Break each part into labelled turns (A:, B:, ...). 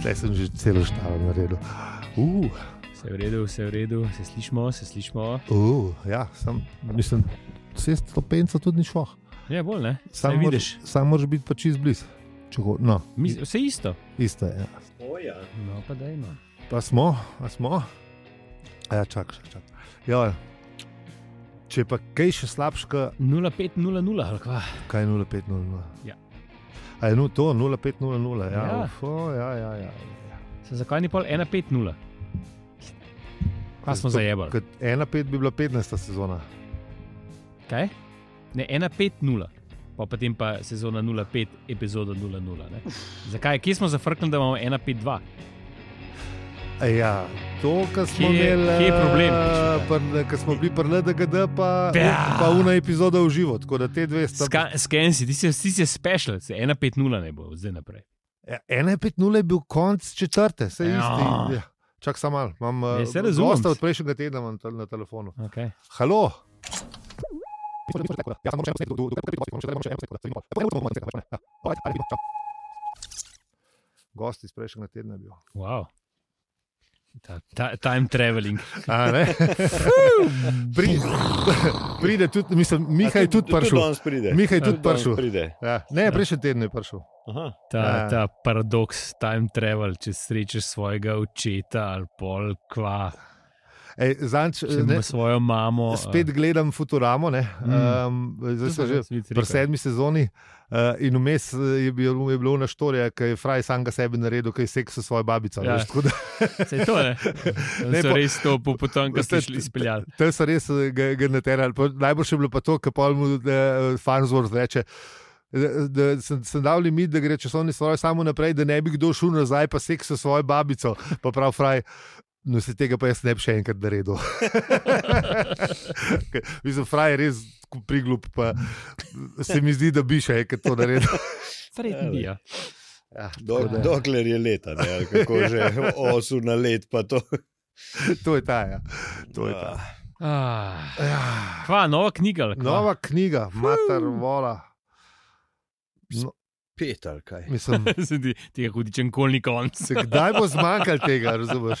A: Zdaj sem že celo štalo naredil. Uh,
B: Vse v redu, vse v redu, se slišmo, se slišmo.
A: uh, ja, sem, mislim, vse stopenca tudi ni šlo.
B: Je Ja, bolj, ne?
A: Sam
B: Sam vidiš.
A: Sam moraš biti pa čist blizu. Če ho- No,
B: Mi, vse isto.
A: isto je. Ja.
C: Oja.
B: No, pa da ima.
A: Pa smo, a smo. A ja, čak, čak, čak. Jo, Ja, če pa kaj še slabška,
B: 0500, ali kva.
A: kaj je 0500.
B: Ja.
A: A je no, to 0500, ja,
B: Ja.
A: ja. Uf, o, ja, ja, ja.
B: Sem zakaj ni pol 150? Kva smo
A: To-
B: zajebali?
A: Kot 1-5 bi bila 15. sezona.
B: Kaj? Ne, 150. Pa potem pa sezona 05, epizoda 00. Ne? Zakaj? Kje smo zafrknili, da imamo 152?
A: A Ja, to, kar smo
B: Kje-
A: imeli,
B: kje je problem?
A: Ker smo bili pri LDGD, pa,
B: Ja.
A: pa una epizoda v živo. Tako da te dve sta.
B: Ska- Sken si, ti si, ti si special, se 150 ne bo od zdaj naprej.
A: Ja, 1-5-0 je bil konc četrte, se
B: Ja.
A: isti. Ja. Čak samo malo, imam
B: Ne,
A: eh,
B: saj razumem.
A: gosta od prejšnjega tedna imam tel- na telefonu.
B: Okay.
A: Halo, gost iz prejšnjega tedna je bil.
B: Wow. Ta, ta, time traveling.
A: A, ne? Pri, pride tudi, mislim, Mihaj je tudi prišel.
C: Danes pride.
A: Mihaj je
C: Tudi
A: tudi
C: danes
A: prišel.
C: pride.
A: Ja, ne, prejšnji teden je prišel.
C: Aha.
B: Ta,
A: Ja.
B: ta paradoks, time travel, če srečaš svojega očeta ali pol kva,
A: Ej, Zanč,
B: če
A: ne, Ja,
B: imaš svojo mamo.
A: spet gledam Futuramo, ne,
B: eh, Mm.
A: um, zdaj sem že pri sedmi sezoni uh, in vmes eh, je bilo, je bilo naštorje, ki je Fraj sam ga sebi naredil, ki je seks s svojo babico.
B: Ja.
A: Ja. Veš, tako da,
B: Se to ne.
A: Ne,
B: Ne, so
A: po-
B: res to po potem, ko ste
A: Veste,
B: šli izpeljali.
A: to so res eh, ga, ga naterali. Pa Najboljše je bilo pa to, kar pa mu eh, Farnsworth reče. Da, da sem, sem dal limit, da gre časovni stroj samo naprej, da ne bi kdo šel nazaj, pa seks s svojo babico. Pa prav fraj, no se tega pa jaz ne bi še enkrat naredil. Ker, Mislim, fraj je res priglup, pa se mi zdi, da bi še enkrat to naredil.
B: Verjetno bi, ja.
A: Ja,
C: Dok,
A: tako da-
C: dokler je leta, ne, ali kako
A: Ja.
C: že osu na let, pa to.
A: To je ta. Ja. To je ta.
B: Ah,
A: Ja.
B: Kva, nova knjiga. ali Kva?
A: Nova knjiga, Matar Vola.
C: Pet ali kaj.
A: Mislim,
B: Se ti- Tega hudičen kolni konc.
A: se kdaj bo zmanjkalo tega, razumeš?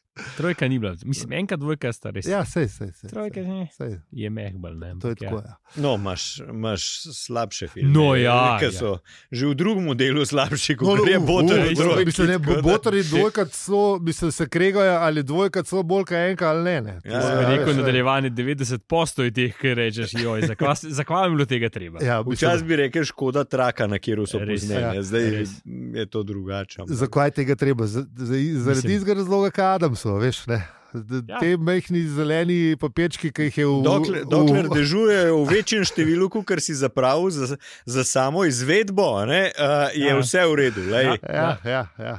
B: Trojka ni bila. Mislim, enka, dvojka sta res.
A: ja, sej, sej, sej.
B: Trojka
A: sej,
B: že
A: sej.
B: je mehbal. Ne,
A: To je
B: ampak ja.
A: tako. Ja.
C: No, imaš, imaš slabše filme.
B: No, ja,
C: Ki
B: ja.
C: so že v drugem delu slabši, kot
A: no,
C: no, je
A: uf,
C: Botar.
A: uf, uf,
C: in Trojki,
A: mislim, ne,
C: tako da-
A: Botar je dvojkrat so, mislim, se kregajo ali dvojkrat so bolj kot enka ali ne. ne.
C: Ja,
B: Jaz
C: ja,
B: bi rekel,
A: veš,
B: nadaljevanje 90% je teh, ki rečeš, joj, zakaj zakva je bilo tega treba.
A: Ja, mislim,
C: Včasih bi rekel, škoda traka, na kjer so
B: Res,
A: ja.
C: poznane, zdaj
B: Res.
C: je to drugače. ampak-
A: zakaj je tega treba? Z, z, zaradi
B: Mislim-
A: tistega razloga, kot Adamso, veš. Ne? D-
B: Ja.
A: Te majhni zeleni papirčki, ki jih je v
C: Dokler,
A: v-
C: dokler dežujejo v večjem številu, kot si zapravil za, za samo izvedbo, ne, uh, je
B: Ja.
C: vse v redu. Lej,
A: Ja, ja, ja,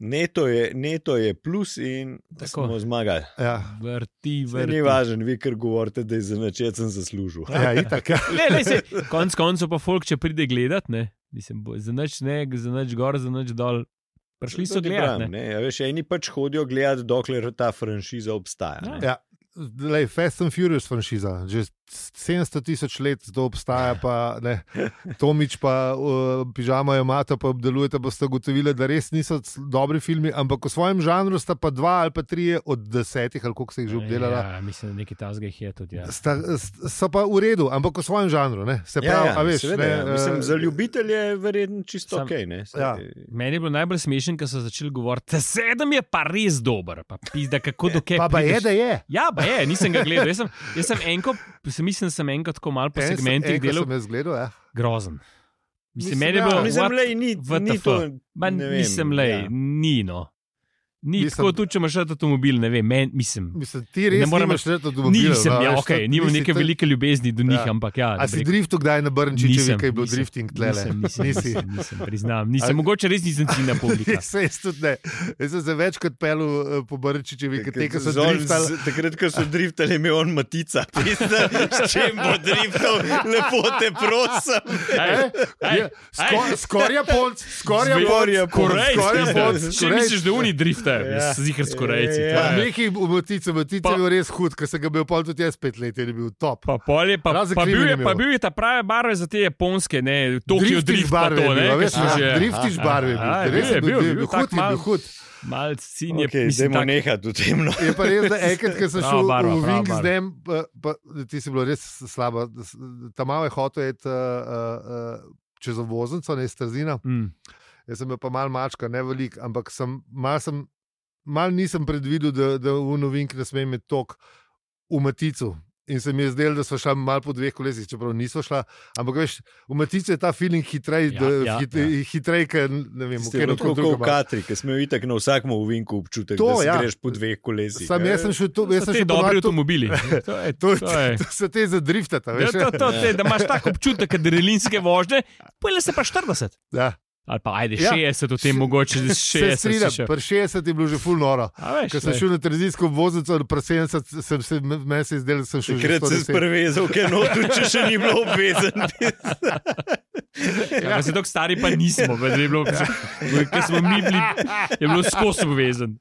C: neto, je, neto je plus in
B: Tako.
C: tako smo zmagali.
A: ja.
B: Vrti,
C: Saj Ni
B: vrti.
C: važno, vi kar govorite, da je za načecen zaslužil.
A: ja itak. Ja.
B: Ne, ne, sej, konc koncev pa folk, če pride gledat, ne, mislim, bo, za nič ne, za nič gor, za nič dol. Prišli so
C: Tudi
B: gledat,
C: pravim,
B: ne.
C: ne, ja, veš, eni pač hodijo gledati, dokler ta franšiza obstaja.
B: Ja.
C: ne.
A: Ja. Lej, Fast and Furious franšiza, že 700 tisoč let to obstaja, pa ne, Tomič pa uh, pižama je mata, pa obdelujete, boste ugotovili, da res niso c- dobri filmi, ampak v svojem žanru sta pa dva ali pa trije od desetih, ali koliko ste jih že obdelali.
B: Ja, mislim, da nekaj tazga jih je tudi. Ja.
A: Sta, s- so pa v redu, ampak v svojem žanru. Ne? Se pravi, a veš,
C: seveda,
A: ne,
C: ja. Mislim,
A: eh,
C: za ljubitelje je verjetno čisto
B: Sam-
C: ok. Ne? Saj-
A: Ja.
B: Meni je bilo najbolj smešen, ko so začeli govoriti, da sedem je pa res dober, pa pizda, kako do kje.
A: Pa, pa je, da je.
B: Ja, pa je, nisem ga gledal. Jaz sem, jaz sem enko, sem, mislim, da sem enko tako malo po
A: En sem-
B: segmentih
A: enega
B: delal,
A: Sem jaz gledal, ja.
B: grozen. Mislim,
A: Mislim,
B: meni je
A: ja,
B: bilo,
C: Mislim,
B: what-
C: lej, ni,
B: what the
C: ni to.
B: fuck? Ma,
C: ne vem,
B: nisem le,
C: ja.
B: ni no. Ni
A: Mislim-
B: Mislim, tako, tudi če imaš rad avtomobil, ne vem, men, mislim.
A: Mislim, ti res
B: Ne morem-
A: moraš reči, da bomo bili.
B: Nisem, ja, okay, nimam neke velike ljubezni do njih,
A: Ja.
B: ampak ja.
A: A
B: da bi
A: si
B: rekel-
A: driftu kdaj na Brnčičevi,
B: Nisem,
A: kaj je bil
B: nisem,
A: drifting tlele?
B: Nisem, nisem,
A: Nisi.
B: nisem, nisem, priznam. Nisem,
A: Ali-
B: mogoče res nisem ciljna publika.
A: Jaz se jaz tudi ne. Jaz sem se večkrat pel eh, po Brnčičevi, ker te, ki so
C: Zol-
A: driftali.
C: z- Takrat, ko so driftali, je imel on matica. Pizda, s čem bo driftal, lepo te prosim.
B: Aj, aj,
A: Ja,
B: aj.
A: sko- Skoraj Japonc, skoraj
B: Zve-
A: Japonc,
B: Korejci,
A: skoraj
B: mislim.
A: Japonc.
B: Še misliš, da oni driftajo,
C: Ja.
B: ja. zihar s Korejci.
C: Ja.
B: to
A: Ja,
B: je-
A: neki umotica, umotica
B: Pa-
A: je bil res hud, ker sem ga bil pol tudi jaz pet let in je bil top.
B: Pa, pol je, pa,
A: Razen
B: pa, bil je,
A: krivi ni
B: pa
A: imel.
B: bil je ta prave barve za te japonske, ne, Tokio drift, pa
A: barve,
B: to, ne, ki
A: veš, ja.
B: smo že.
A: driftiš barve,
B: Aha, aha,
A: res je bil, je bil
B: tak
A: hud, je
B: mal-
A: bil hud.
B: Mal sin je, mislim,
C: Okay, Zdaj
B: tak,
C: moramo nehati v tem. No.
A: Je pa res, da enkrat, ko sem
B: Prava
A: šel
B: barva,
A: v
B: prava
A: Wing z
B: barva.
A: dnem, pa, pa, ti si bilo res slaba. Tam malo je hotel je uh, uh, čez obvoznico, ne iz Trzina.
B: Mm,
A: Jaz sem bil pa mal mačka, ne velik, ampak sem mal, sem, mal nisem predvidel, da, da v novink ne smem imeti tok v maticu. In se mi je zdelo, da so šla malo po dveh kolesih, čeprav niso šla. Ampak veš, v matici je ta feeling hitrej,
B: Ja,
A: ja,
B: ja,
A: ja, hit, ja. hitrej, ker ne vem,
C: Ste
A: kaj
C: bili
A: lahko
C: Tako kot
A: drugo.
C: v Katri, ki smo itak na vsakem uvinku občutek,
A: To,
C: to, da
A: ja.
C: ja. greš po dveh kolesih.
A: Sam jaz sem šel to,
B: to
A: jaz
B: so
A: sem
B: ti
A: šel ponovno
B: dobri
A: to-
B: avtomobili. To je,
A: To,
B: to je.
A: to se te zadriftata,
B: Ja,
A: veš?
B: to, to, te, da imaš tako občutek adrenalinske vožnje, pojdi se pa 40.
A: Ja.
B: Ali pa ajde
A: Ja.
B: 60, v tem
A: Se-
B: mogoče
A: Se
B: 60.
A: strinjam,
B: še-
A: pri 60 je bilo že full noro.
B: A veš,
A: Ker sem
B: lej.
A: šel na Trzinsko obvoznico, pri 70 sem se, meni se je zdelo, da sem šel že
C: Takrat sem
A: 110.
C: sprevezel, ker notu, če še ni bilo obvezen.
B: Ja, se tako stari pa nismo, več je bilo, ker smo mi bili, je bilo skozi obvezen.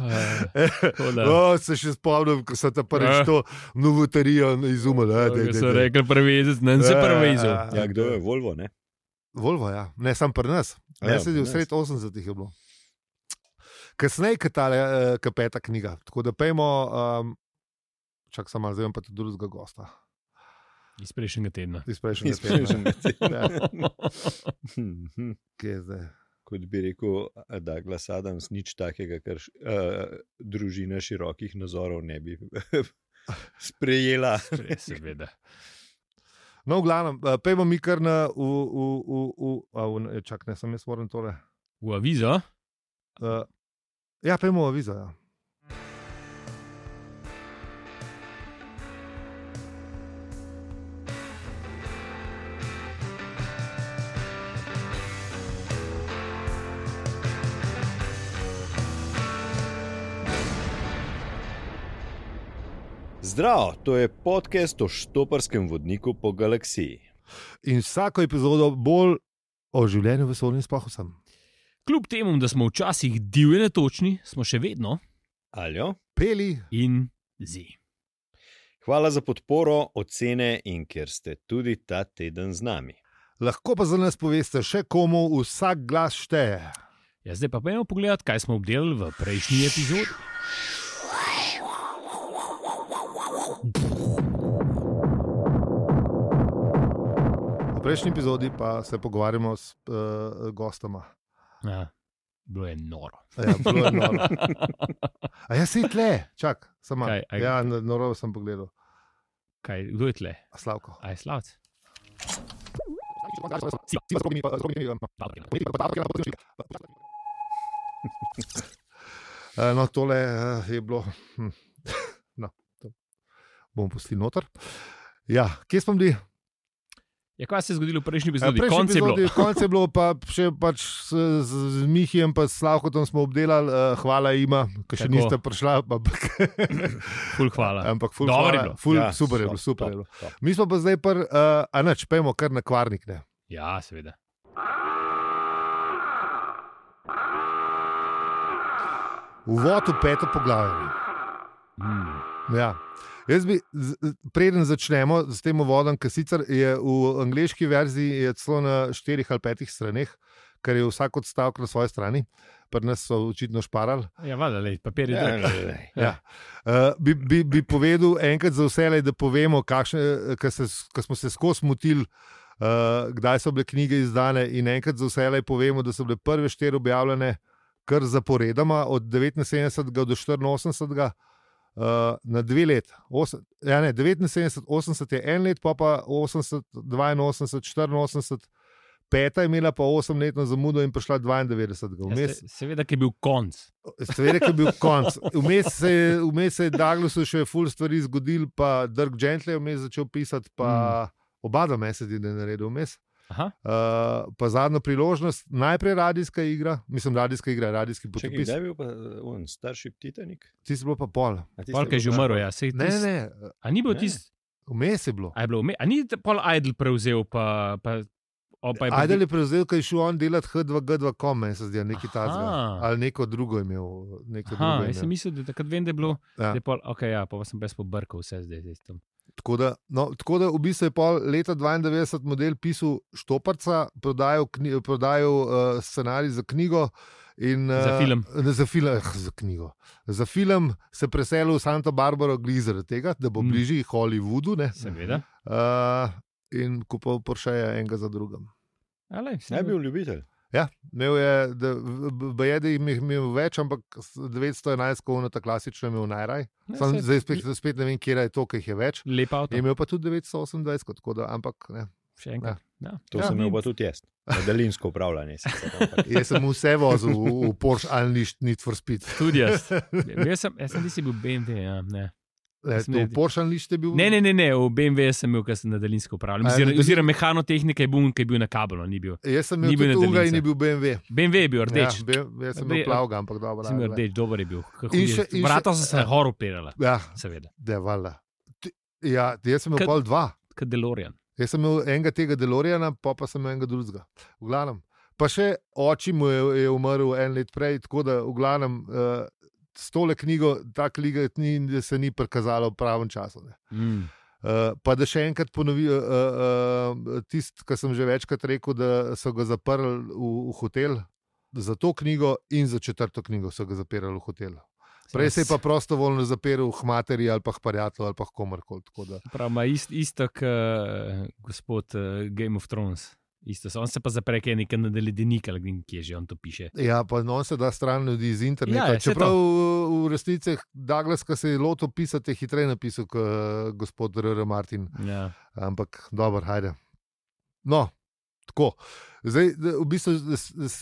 B: Eh,
A: O, se še spomnim, ko so ta
B: Ja.
A: prvič to novoterijo izumili. a, daj, daj,
B: So
A: daj.
B: rekli prevezet, ne se
A: Ja,
B: prevezel.
A: ja,
C: Ja, kdo je Volvo, ne?
A: Volvo, ja. ne samo pri nas.
C: A
A: Ne,
C: ja,
A: se
C: pri
A: je v
C: nas.
A: sred 80-ih je bilo. Kasneje je ta uh, peta knjiga. Tako da pejmo, um, čak samo zdaj imam pa tudi drugega gosta.
B: Iz prejšnjega tedna.
A: Iz prejšnjega
C: Iz
A: tedna.
C: prejšnjega
A: Ja,
C: tedna.
A: kje je zdaj?
C: Mhm. kot bi rekel Douglas Adams, nič takega, kar š, uh, družina širokih nazorov ne bi sprejela.
B: Ja, Seveda.
A: No, v glavnem, eh, pejmo mi kar na, v, v, v, v, a, v ne, čak, ne, sem jaz moram tole.
B: V avizo.
A: Uh, ja, pejmo v avizo. Ja.
C: Zdravo, to je podcast o štoparskem vodniku po galaksiji.
A: In vsako epizodo bolj o življenju vesolnim spohusom.
B: Kljub temu, da smo včasih divje netočni, smo še vedno
C: Aljo,
A: Peli,
B: in zi.
C: hvala za podporo, ocene in ker ste tudi ta teden z nami.
A: lahko pa za nas poveste še komu, vsak glas šteje.
B: Ja, zdaj pa pojdimo pogledat, kaj smo obdelali v prejšnji epizodi.
A: V prejšnji epizodi pa se pogovarjamo s uh, gostoma.
B: Ja, bilo je noro.
A: A Ja, bilo je noro. A jaz si tle, čak, samo.
B: Kaj, aj-
A: Ja, na- noro sem pogledal.
B: Kaj, kdo je tle?
A: A Slavko.
B: Aj, slavc.
A: Eh, No, tole eh, je bilo. hm, No, to bomo pustili noter. Ja, kje smo bili?
B: Ja, kaj se je zgodilo v prejšnji
A: Eh,
B: epizodi?
A: prejšnji
B: Konce je bilo.
A: epizodi- Konec je bilo, pa še pač s, z, z Mihijem, pa s Slavkom smo obdelali, eh, hvala ima, ki še
B: Tako.
A: niste prišla. Ampak,
B: Ful, hvala.
A: ampak ful,
B: Dobro je
A: hvala,
B: bilo.
A: ful,
C: Ja,
A: super je
C: top,
A: bilo, super
C: top,
A: je bilo.
C: top.
A: Mi smo pa zdaj, pr, uh, a neč, pojmo kar na kvarnik. Ne?
B: Ja, seveda.
A: Uvod v peto poglavje.
B: Mm.
A: Ja. Jaz bi, z- z- preden začnemo s tem uvodom, ki sicer je v angliški verziji je celo na štirih ali petih straneh, ker je vsak odstavek na svoji strani, pri nas so očitno šparali.
B: Ja, vada, lej, papir je
C: Ja,
B: drag.
C: lej, lej.
A: Ja. Uh, bi, bi, bi povedal enkrat za vse, lej, da povemo, ker smo se skozi motili. Uh, kdaj so bile knjige izdane, in enkrat za vse le povemo, da so bile prve štiri objavljene kar zaporedoma, od 79 do 84, uh, na dve leti. Osem- Ja, ne, 79, 80 je en let, pa pa 80, 82, 84, peta je imela pa 8-letno zamudo in prišla 92.
B: Ja,
A: Vmes
B: se, seveda, ki je bil konc.
A: Stvari, ki je bil konc. Vmes se je, vmes se je Douglasu še ful stvari zgodil, pa Dirk Gentle je vmes začel pisati, pa oba dva meseca je naredil vmes.
B: Mm. Aha,
A: Uh, pa zadnjo priložnost, najprej radijska igra, mislim, radijska igra, radijski
C: Če
A: potopis.
C: kdaj je bil pa eh, on, starši Titanik?
A: Ti si bilo pa pol.
B: polk je že umrl, ja. Sej,
A: Ne, ne, ne,
B: A ni bil
C: Ne.
B: tisti,
A: vmes je bilo.
B: a je bilo, vme- a ni t- pol Idle prevzel, pa, pa, o, pa je
A: Ajdel je prevzel, kaj je šel on delati H2G2, kom meni se zdi, ja, nekaj tazga.
B: Aha.
A: Ali neko drugo je imel. Neko
B: Aha,
A: drugo je
B: jaz
A: imel.
B: sem mislil, da takrat vem, da je bilo.
A: Ja.
B: Ja. Pol, okay, ja, pa sem brez pobrkal vse zdaj. zdaj tam.
A: Tako da, no, tako da v bistvu je pol leta 92 model pisal Štoparca, prodajal, kni, prodajal uh, scenarij za knjigo. In,
B: Za
A: eh,
B: film.
A: Ne, za film, eh, za knjigo. Za film se preselil v Santa Barbaro, glizer tega, da bo
B: Mm.
A: bližje Hollywoodu. ne.
B: Seveda.
A: Uh, in kupil Porscheja enega za drugim.
B: Ale,
C: Ne bi bil ljubitelj.
A: Ja, imel je, da, baje, da jim je imel več, ampak 911, ko je ta klasičen imel najraj.
B: Ja,
A: Sam, zdaj spet, spet ne vem, kje je to, ki jih je več.
B: Lepa avto.
A: Je imel pa tudi 928, tako da, ampak ne.
B: Še enkrat. Ja.
C: To
A: Ja,
C: ja, sem imel
B: ni-
C: pa tudi jaz. Daljinsko upravljanje. sicer, ampak-
A: Jaz sem vse vozil v, v Porsche ali nič, nič for speed.
B: Tudi jaz. Jaz sem, jaz sem ti si bil BMW. Ja, ne.
A: Ne,
B: Sem
A: to v
B: naredil.
A: Porsche ali nič ste bil.
B: ne, ne, ne, ne, v BMW sem bil, ker sem na daljinsko upravljal.
A: A,
B: Oziroma,
A: na dalj-
B: oziroma mehanotehnika je bil, ki je bil na kabelu. Ni bil.
A: Jaz sem
B: Ni
A: imel
B: bil
A: tudi
B: na
A: Uga in
B: daljince.
A: je bil BMW.
B: BMW je bil rdeč.
A: Ja, BMW, jaz sem imel
B: Be-
A: plavga, ampak dobro.
B: Sem bil
A: ajde.
B: rdeč, dober je bil.
A: ja. In še- in še-
B: Vrata so se hor upirala,
A: Ja,
B: seveda.
A: da, valjda. Ti- Ja, jaz sem imel
B: Kad-
A: pol dva.
B: Kot Delorian.
A: Jaz sem imel enega tega Delorijana, pa, pa sem imel enega drugega. V glavnem. Pa še oči mu je, je umrl en let prej, tako da v glavnem uh, s tole knjigo, ta knjiga ni, se ni prikazala v pravem času. Ne.
B: Mm.
A: Uh, pa da še enkrat ponovim, uh, uh, tisto, kar sem že večkrat rekel, da so ga zaprli v, v hotel za to knjigo in za četrto knjigo so ga zapirali v hotel. Prej se je pa prostovoljno zapiral v Hmateri ali pa v Parjatu ali pa v komorkoli. tako da-
B: Prav, ima ist, isto kot uh, gospod uh, Game of Thrones. Isto, so. on se pa zapre, ki je nekaj nadaljedenik ali nekaj, ki je že on to piše.
A: Ja, pa no, se da stran ljudi iz interneta.
B: Ja,
A: Ja,
B: ja, saj
A: Čeprav v resnici Douglas, ki se je lotil pisati, je hitreje napisal kot eh, gospod R.R. Martin.
B: Ja.
A: Ampak dobro, hajde. No, tako. Zdaj, da- v bistvu z, z,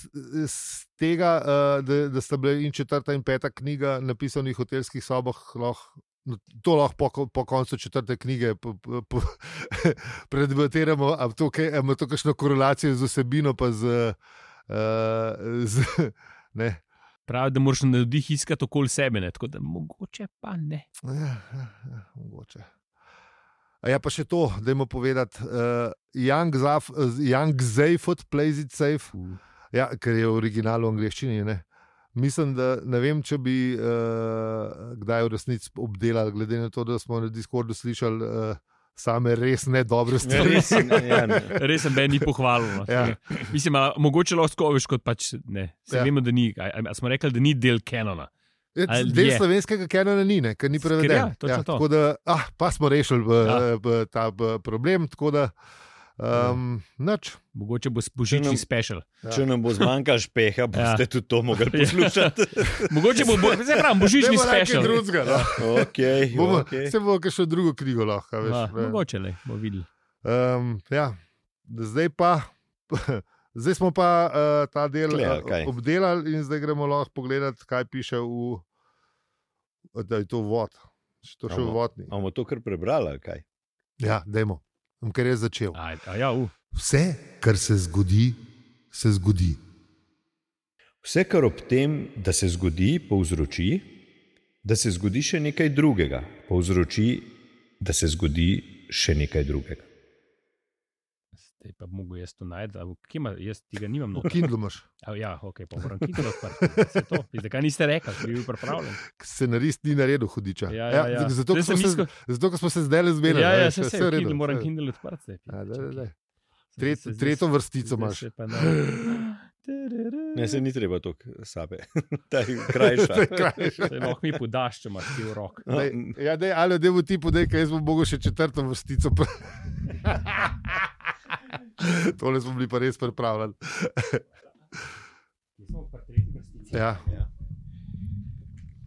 A: z tega, eh, da, da sta bile in četrta in peta knjiga napisani v hotelskih sobah, lahko. no, To lahko po, ko- po koncu četrte knjige po, po, po, predebatiramo, ali to kaj- a ima to kakšno korelacijo z vsebino, pa z. Uh, z ne.
B: Pravi, da moraš na vdih iskati okoli sebe, ne? tako da mogoče pa ne.
A: Ja, ja, ja, mogoče. A Ja, pa še to, da jim povedati, uh, Young, Zaf, eh, young Zayfot plays it safe,
B: Mm.
A: ja, ker je v originalu v angleščini. Ne? Mislim, da ne vem, če bi uh, kdaj v resnici obdelali, glede na to, da smo na Discordu slišali uh, same res ne dobre
C: Ja,
A: stvari.
C: res, ja, ne.
B: Res sem meni pohvalil.
A: Ja.
B: Ja. Mislim, a, mogoče lahko skoviš kot pač ne. Se
A: Ja.
B: ja. vemo, da ni. A, a smo rekli, da ni del kanona.
A: Ja,
B: Ali
A: Del
B: je?
A: slovenskega kanona ni, ne, ker ni
B: Ker
A: preveden.
B: ja, točno to.
A: tako da, ah, pa smo rešili b,
B: Ja.
A: b, ta b, problem, tako da um,
B: Ja.
A: nič.
B: Mogoče bo božični
C: nam-
B: special.
A: Ja.
C: Če nam bo zmanjkalo špeha, boste tudi to
B: Ja.
C: mogli poslušati.
B: Mogoče bo, bo zdaj pravim, božični
A: Dajmo nekaj
B: special.
A: drugega,
C: Ja.
A: no.
C: Okay,
A: Bomo, okay.
C: okay.
A: Se bo še drugo knjigo lahko. a Veš,
B: Ma,
A: ne.
B: Ja, mogoče le, bomo videli.
A: Um, ja, zdaj pa. Zdaj smo pa uh, ta del
C: Tle, ali
A: eh,
C: kaj?
A: obdelali, in zdaj gremo lahko pogledat, kaj piše v. Da je to vod, če to še v
C: Amo.
A: vodni.
C: Bomo to kar prebrali, ali kaj?
A: Ja, dajmo, Bom ker je začel.
B: A, a ja, uh.
A: Vse, kar se zgodi, se zgodi.
C: Vse, kar ob tem, da se zgodi, povzroči, da se zgodi še nekaj drugega, povzroči, da se zgodi še nekaj drugega.
B: Zdaj pa bi mogel jaz to najti, a bo- kje ima, jaz tega nimam.
A: V
B: noter.
A: Kindlu imaš,
B: A, ja, ok, pa moram hitro odpreti. Zakaj niste rekli, da bi bil pripravljen?
A: scenarist ni naredil hudiča.
B: Ja, ja, ja.
A: Zato,
B: Zdaj
A: ker smo
B: sem
A: se,
B: iskal-
A: zato, ker smo se zdaj le zmerili.
B: Ja,
A: a
B: ja,
A: veš,
B: se
A: vse
B: vse
A: je v redu,
B: redu. Moram
A: vse je-
B: Kindle odprti. zdaj,
A: Ja, daj,
B: čakaj.
A: daj, daj.
B: Sem
A: Tret,
B: se zdaj-
A: tretjo vrstico
B: zdaj
A: imaš.
B: se pa na-
C: Ne, se ni treba tako sabe, da je krajša.
A: Krajša.
B: Zdaj Lahko mi podaš, če imaš ti v roki.
C: No,
A: Daj, ja, dej, ali da bo ti podej, kaj jaz bom mogel še četrto vrstico. pre- Tole smo bili pa res pripravljeni. Ja.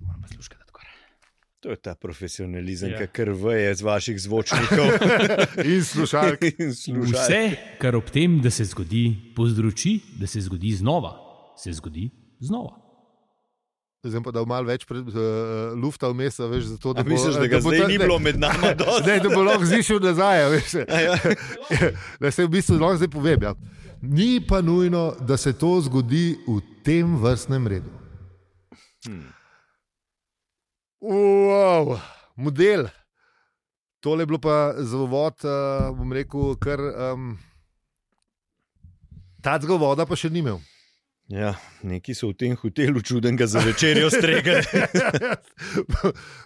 B: Moram pa slušati, da tako
C: To je ta profesionalizem,
B: Ja.
C: ja. ki krveje z vaših zvočnikov
A: In slušalk.
C: in sluša.
B: Vse, kar ob tem, da se zgodi, povzroči, da se zgodi znova, se zgodi znova.
A: Zdaj pa da bo malo več pred, uh, lufta vmes, a veš, zato, da,
C: A
A: bo,
C: misliš, da ga
A: bo
C: zdaj
A: ta-
C: ni
A: ne,
C: bilo med nami dosti? ja.
A: Ne, da bo lahko zišel nazaj, a veš. Da se v bistvu lahko zdaj povem. Ja. Ni pa nujno, da se to zgodi v tem vrstnem redu. Wow, model. Tole je bilo pa za uvod, uh, bom rekel, kar um, tacga voda pa še ni imel.
C: Ja, neki so v tem hotelu čudenega za večerjo stregali.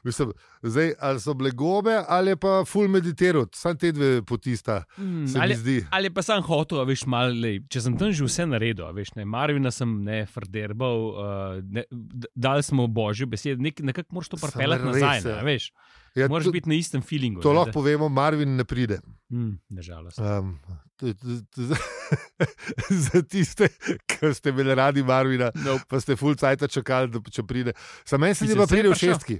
A: Mislim, zdaj, ali so bile gobe, ali je pa full meditiral, samo te dve potista,
B: Mm,
A: se mi
B: ali,
A: zdi.
B: ali pa sem hotel, a veš, malo, lej, če sem tam že vse naredil, a veš, ne, Marvina sem ne frderbal, uh, ne, d- dali smo božjo besedo, nek, nekako moraš to
A: Samo
B: pripeljati
A: res
B: nazaj,
A: je.
B: ne, a veš.
A: Ja,
B: Moraš
A: to-
B: biti na istem feelingu.
A: To
B: ne,
A: lahko povemo, Marvin ne pride.
B: da- Mm, Nažalost.
A: Um, t- t- t- za- za tiste, ki ste bili radi Marvina,
B: Nope.
A: pa ste full cajt čakali, da če pride. Sam meni se zdi,
B: Mislim,
A: da
B: saj je
A: pride v
B: prišel.
A: šestki.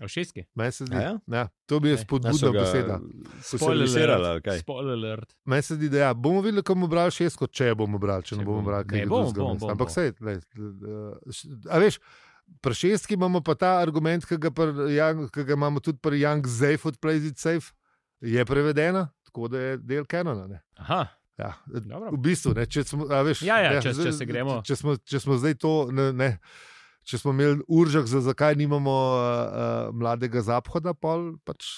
B: A v šestki?
A: Meni se zdi,
C: A ja?
A: ja, to bi je
B: Ej,
A: spodbudna beseda.
C: Spoilerirala, kaj?
B: Spoiler alert.
A: Meni se zdi, da ja, bomo videli, kako bomo brali šestko, če jo bomo brali, če ne
B: Če
A: bomo
B: bomo.
A: brali
B: Ne,
A: kaj
B: bomo,
A: drugega.
B: bomo,
A: mislim.
B: bomo,
A: Ampak
B: bomo.
A: sej, lej, a veš, pri šestki imamo pa ta argument, ki ga, pri Young- ki ga imamo tudi pri Young Safe od Playzit Safe, je prevedena, tako da je del kanona. Ne?
B: Aha,
A: Ja.
B: Dobro.
A: V bistvu, ne, če, smo, a veš,
B: Ja, ja,
A: ne,
B: če-
A: zdaj-
B: če se gremo.
A: Če smo, če smo zdaj to, ne, ne, če smo imeli uržek, za zakaj nimamo uh, uh, mladega zahoda, pol pač.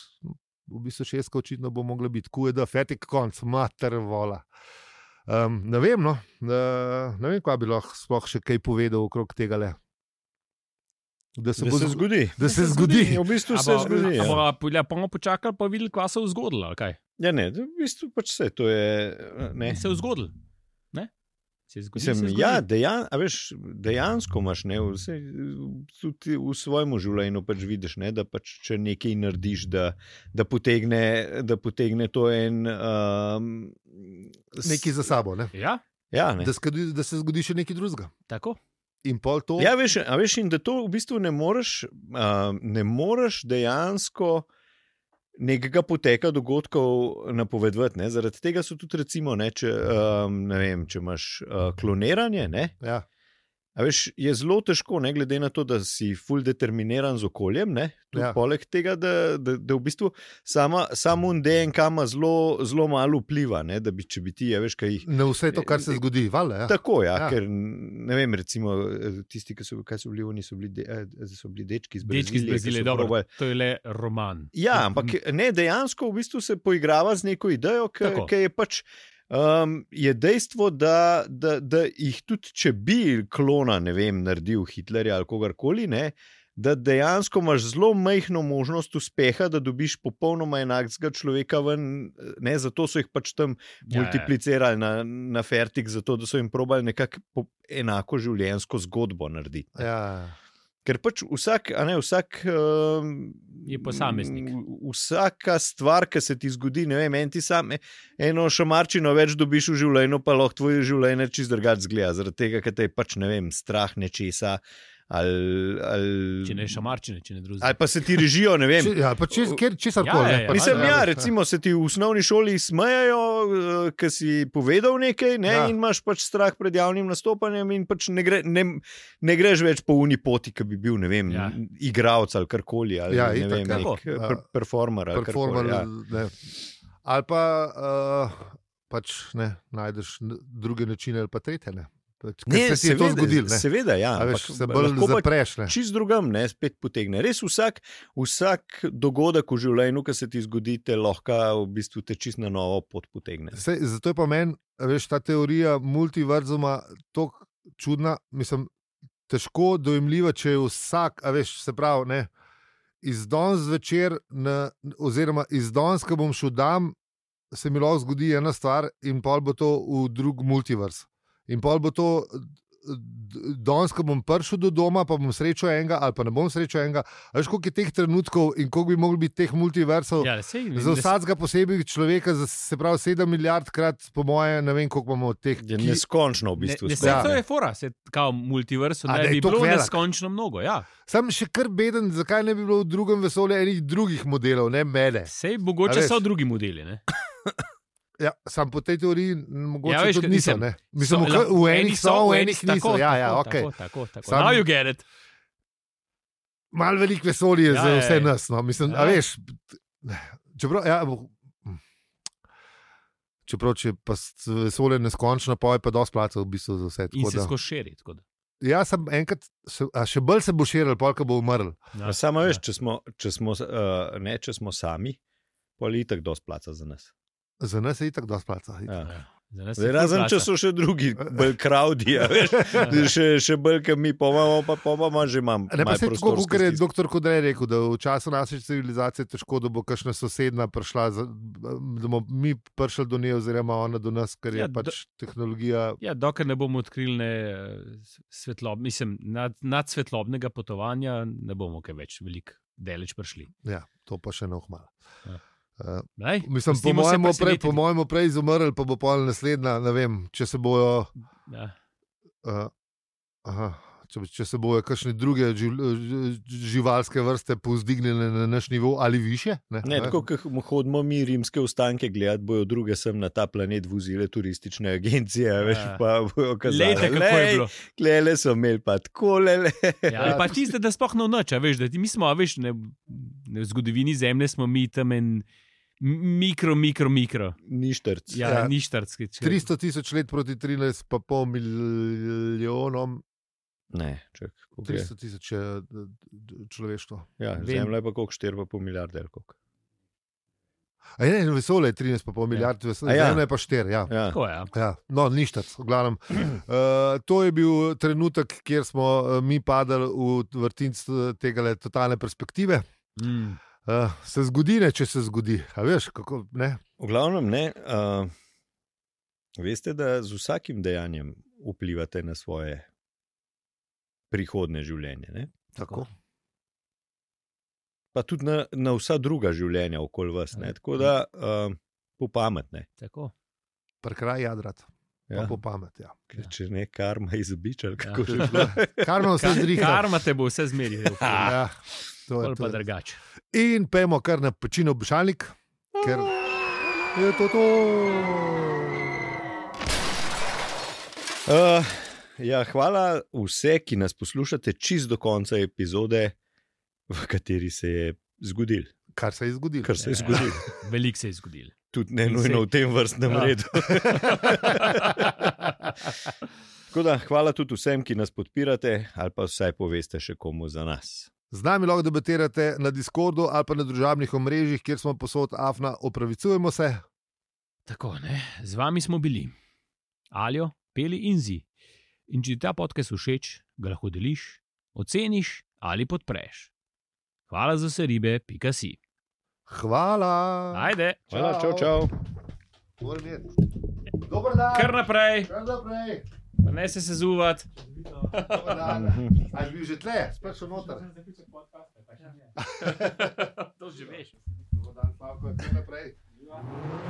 A: V bistvu šestka očitno bo mogla biti, kuje da fetik konc, mater vola. Um, ne vem, no, uh, ne vem, kaj bi lahko sploh še kaj povedal okrog tega. Le. Da se,
C: Da
A: bo
C: se
A: zgo-
C: zgodi.
A: Da se zgodi.
C: Ja, v bistvu
B: A
C: se
B: bo-
C: zgodi.
B: a
C: Ja.
B: bova pol- bomo počakali, pa videli, kaj se je zgodilo. ali Kaj?
A: Eh,
C: ja, ne, v bistvu pač se to je. eh, Ne.
B: Se je zgodilo. Ne? Se je zgodilo. se je
C: Mislim,
B: zgodilo.
C: ja, dejan, a veš, dejansko imaš ne, vse, tudi v svojem življenju pač vidiš, ne, da pač, če nekaj narediš, da, da, potegne, da potegne to en. Um, s-
A: Nekaj za sabo, ne?
B: ja,
C: Ja, ne.
A: Da, skodi, da se zgodi še nekaj drugega.
B: tako.
A: In pol to.
C: Ja, veš, a veš, in da to v bistvu ne moreš, uh, ne moreš dejansko nekega poteka dogodkov napovedovati. ne. Zaradi tega so tudi, recimo, ne, če, um, ne vem, če imaš uh, kloniranje. Ne,
A: Ja.
C: a veš, je zelo težko, ne glede na to, da si full determiniran z okoljem. Ne,
A: Ja.
C: ja. Poleg tega, da, da, da v bistvu sama, samo DNK ima zelo, zelo malo vpliva, ne, da bi, če bi ti, a veš, kaj jih
A: Na vse to, kar se zgodi, vale.
B: Ah,
A: Ja.
C: Tako, ja,
A: Ja.
C: ja. ker ne vem, recimo, eh, tisti, ki so, kaj so bili, oni so bili, de, eh, so bili dečki iz Brazilije.
B: Dečki iz
C: ki
B: Brazilije,
C: so
B: dobro. Mm,
C: probali-
B: To je le roman.
C: Ja, ampak ne, dejansko v bistvu se poigrava z neko idejo,
B: Tako.
C: ki je pač. Um, je dejstvo, da, da, da jih tudi, če bi klona, ne vem, naredil Hitlerja ali kogarkoli, ne, da dejansko imaš zelo majhno možnost uspeha, da dobiš popolnoma enakega človeka ven. Ne, zato so jih pač tam
B: Ja, ja.
C: multiplicirali na, na Fertig, zato da so jim probali nekako po- enako življenjsko zgodbo narediti. ne.
A: Ja.
C: Ker pač vsak, a ne vsak. Um,
B: Je posameznik.
C: Vsaka stvar, ki se ti zgodi, ne vem, en ti sam, e, eno šamarčino več dobiš v življenju, pa lahko tvoje življenje čist drugače zgleda, zaradi tega, ker te je pač, ne vem, strah nečesa. Ali, ali,
B: Če ne šamarčine, če ne drugega.
C: ali pa se ti režijo, ne vem.
A: Če, ja, pa čez, kjer, česar
B: Ja,
A: koli.
B: ja,
A: ne,
B: ja.
A: pač,
C: Mislim,
A: ne,
C: ja,
A: veš,
C: recimo se ti v osnovni šoli smejajo, ker si povedal nekaj, ne,
A: Ja.
C: ja. in imaš pač strah pred javnim nastopanjem, in pač ne, gre, ne, ne greš več po uni poti, ki bi bil, ne vem,
B: Ja.
C: ja. igralec ali karkoli, ali
A: Ja,
C: ja, ne
A: itak,
C: vem,
A: ja.
C: nek,
A: Tako.
C: per, performer. ali
A: Performer,
C: karkoli, ja.
A: ne. Ali pa uh, pač ne, najdeš n- druge načine ali pa tretje. Ne, pač, ker se ti je to zgodilo. ne.
C: Seveda, ja.
A: A Veš,
C: ampak
A: se bolj
C: lahko pa
A: zapreš. ne.
C: čist drugam, ne, spet potegne. Res vsak, vsak dogodek v življenju, ki se ti zgodi, te lahko v bistvu te čist na novo pot potegne.
A: Sej, zato je pa meni, a veš, ta teorija multiverzuma tako čudna, mislim, težko dojemljiva, če je vsak, a veš, se pravi, ne, iz danes zvečer, na, oziroma iz danes, ko bom šel dam, se mi lahko zgodi ena stvar in pol bo to v drug multiverz. In pol bo to d- danes, ko bom prišel do doma, pa bom srečal enega, ali pa ne bom srečal enega. A Veš, koliko je teh trenutkov in koliko bi moglo biti teh multiversov.
B: Ja, sej,
A: Za vsakega posebej človeka, za- se pravi, sedem milijard krat, po moje, ne vem, koliko imamo teh.
B: Ja,
C: Je Ja, neskončno v
B: Ne,
C: bistvu.
B: ne, saj
C: skoraj,
A: Ja.
B: to je fora, se kao multiverso,
A: A,
B: da
A: da je
B: bi
A: toliko
B: bilo
A: velik.
B: neskončno mnogo. Ja.
A: Sam še kar beden, zakaj ne bi bilo v drugem vesolju enih drugih modelov, ne mene. Ja.
B: Sej,
A: A
B: mogoče
A: veš?
B: so drugi modeli. Ne?
A: Ja, sam po tej teoriji, n- mogoče
B: Ja,
A: ja,
B: veš,
A: veš, tudi
B: ke-
A: niso.
B: mislim,
A: ne. Mislim,
B: So,
A: v,
B: lahko-
A: v enih so, v enih niso.
B: Tako,
A: Ja, ja,
B: tako,
A: okay.
B: tako, tako, tako.
A: Sam-
B: Now you get it.
A: Mal veliko vesolja je
B: Ja,
A: za
B: ja,
A: vse
B: ja.
A: nas. No. Mislim, ja.
B: Ja.
A: veš, čeprav, ja, bo- čeprav, če pa s- vesolje neskončno, pa je pa dosti plačal v bistvu za vse.
B: In
A: tako
B: se
A: da-
B: skozi širi. tako da.
A: Ja, sem enkrat, se, a še bolj se bo širil, polka bo umrl.
B: Ja.
C: Pa No, Samo veš,
B: Ja.
C: če smo, če smo, uh, ne, če smo sami, pa je itak dosti placa za nas.
A: Za nas je itak dosti placa. itak.
C: Ja.
B: Ja. Za nas je
C: Zdaj,
B: ful
C: razen če
B: plača.
C: so še drugi, bolj crowdi, a veš, še, še bolj, ki mi pa imamo, pa pa pa že imam.
A: Ne, pa
C: malo
A: se tako,
C: prostorske
A: kot je
C: stiske.
A: dr. Kodrej rekel, da v času naše civilizacije je težko, da bo kakšna sosedna prišla, za- da bomo mi prišli do nje, oziroma ona do nas, ker je ja,
B: Ja, do-
A: pač tehnologija.
B: Ja, dokler ne bomo odkrili ne, eh, svetlob, mislim, nad, nad svetlobnega potovanja, ne bomo kaj več veliko deleč prišli.
A: Ja, to pa še ne ohmala.
B: Ja.
A: Uh,
B: Daj,
A: mislim, po
B: pustimo se
A: mojem, prej,
B: presenetiti.
A: po mojem, prej izumrl, pa bo pol naslednja. Ne vem, če se bojo,
B: Ja.
A: uh, aha, če, če se bojo kakšne druge živ, ž- živalske vrste povzdignile na naš nivo ali više. Ne,
C: Ne, tako kot hodimo mi rimske ustanke gledati, bojo druge sem na ta planet vozile turistične agencije, a veš,
B: Ja.
C: pa bojo kazali.
B: Lejte, kako je bilo.
C: Klele so imeli pa tako, lele.
B: Ja, ali pa tiste, da sploh ne noč, a veš, da ti, mi smo, a veš, ne, ne, v zgodovini zemlje smo mi tam en mikro, mikro, mikro.
C: Ništrc.
B: Ja, ja.
A: Ja.
B: ništarski.
A: 300 tisoč let proti 13, pa pol milijonom,
C: Ne, čak, koliko je?
A: 300 tisoč je eh, d- d- človeštvo.
C: ja,
B: Vem.
C: zemlja je pa koliko 4,5 milijarde ali koliko.
A: A je ne, vesolje je 13, pa pol milijard,
C: A
A: vesolje
C: ja.
A: ja. je pa 4. Ja.
C: Ja.
B: Tako, ja.
A: Ja, no, ništac, v glavnem. Uh, to je bil trenutek, kjer smo eh, mi padali v vrtinc eh, tega totalne perspektive.
B: Mm.
A: Uh, se zgodi, ne, če se zgodi. A veš, kako ne?
C: V glavnem, ne. Uh, veste, da z vsakim dejanjem vplivate na svoje prihodne življenje, ne?
A: Tako.
C: pa tudi na, na vsa druga življenja okoli vas. Ne?
B: Ja.
C: Tako da uh, popametne.
B: Tako.
A: Prekraj jadrat, ja.
C: Ja.
A: pa po pamet. Ja.
C: Ker Če ne karma izbičal,
B: Ja.
C: kako
A: Če
C: že
A: je šlo. Karma vse zriha.
B: Karma te bo vse zmeri.
A: Ja, to je
B: Ali pa
A: to.
B: drugače.
A: In pojmo kar na pečino obešalnik, ker je to to.
C: Uh, ja, hvala vse, ki nas poslušate čist do konca epizode, v kateri se je zgodil,
A: Kar se je zgodilo.
C: kar se je
B: Ja.
C: zgodil.
B: Veliko se je zgodilo.
C: Tudi ne nujno v tem vrstnem
B: Ja.
C: ja. redu. Tako da, hvala tudi vsem, ki nas podpirate, ali pa vsaj poveste še komu za nas.
A: Z nami lahko debatirate na Discordu ali pa na družabnih omrežjih, kjer smo posod afna, opravičujemo se.
B: Tako, ne? z vami smo bili, alijo, peli in zi. In če ti ta podcast všeč, ga lahko deliš, oceniš ali podpreš. Hvala za vse ribe, pika si.
A: Hvala.
B: Ajde,
C: Hvala, čau,
A: Čau.
C: čau.
A: Moram iti. Dober dan.
B: kar naprej,
A: Kar naprej.
B: pa ne se sezuvat.
A: Dober dan.
C: Mhm.
A: A je bil že tle, spet še noter.
B: to že veš.
A: Dober dan, Pavko, kar naprej.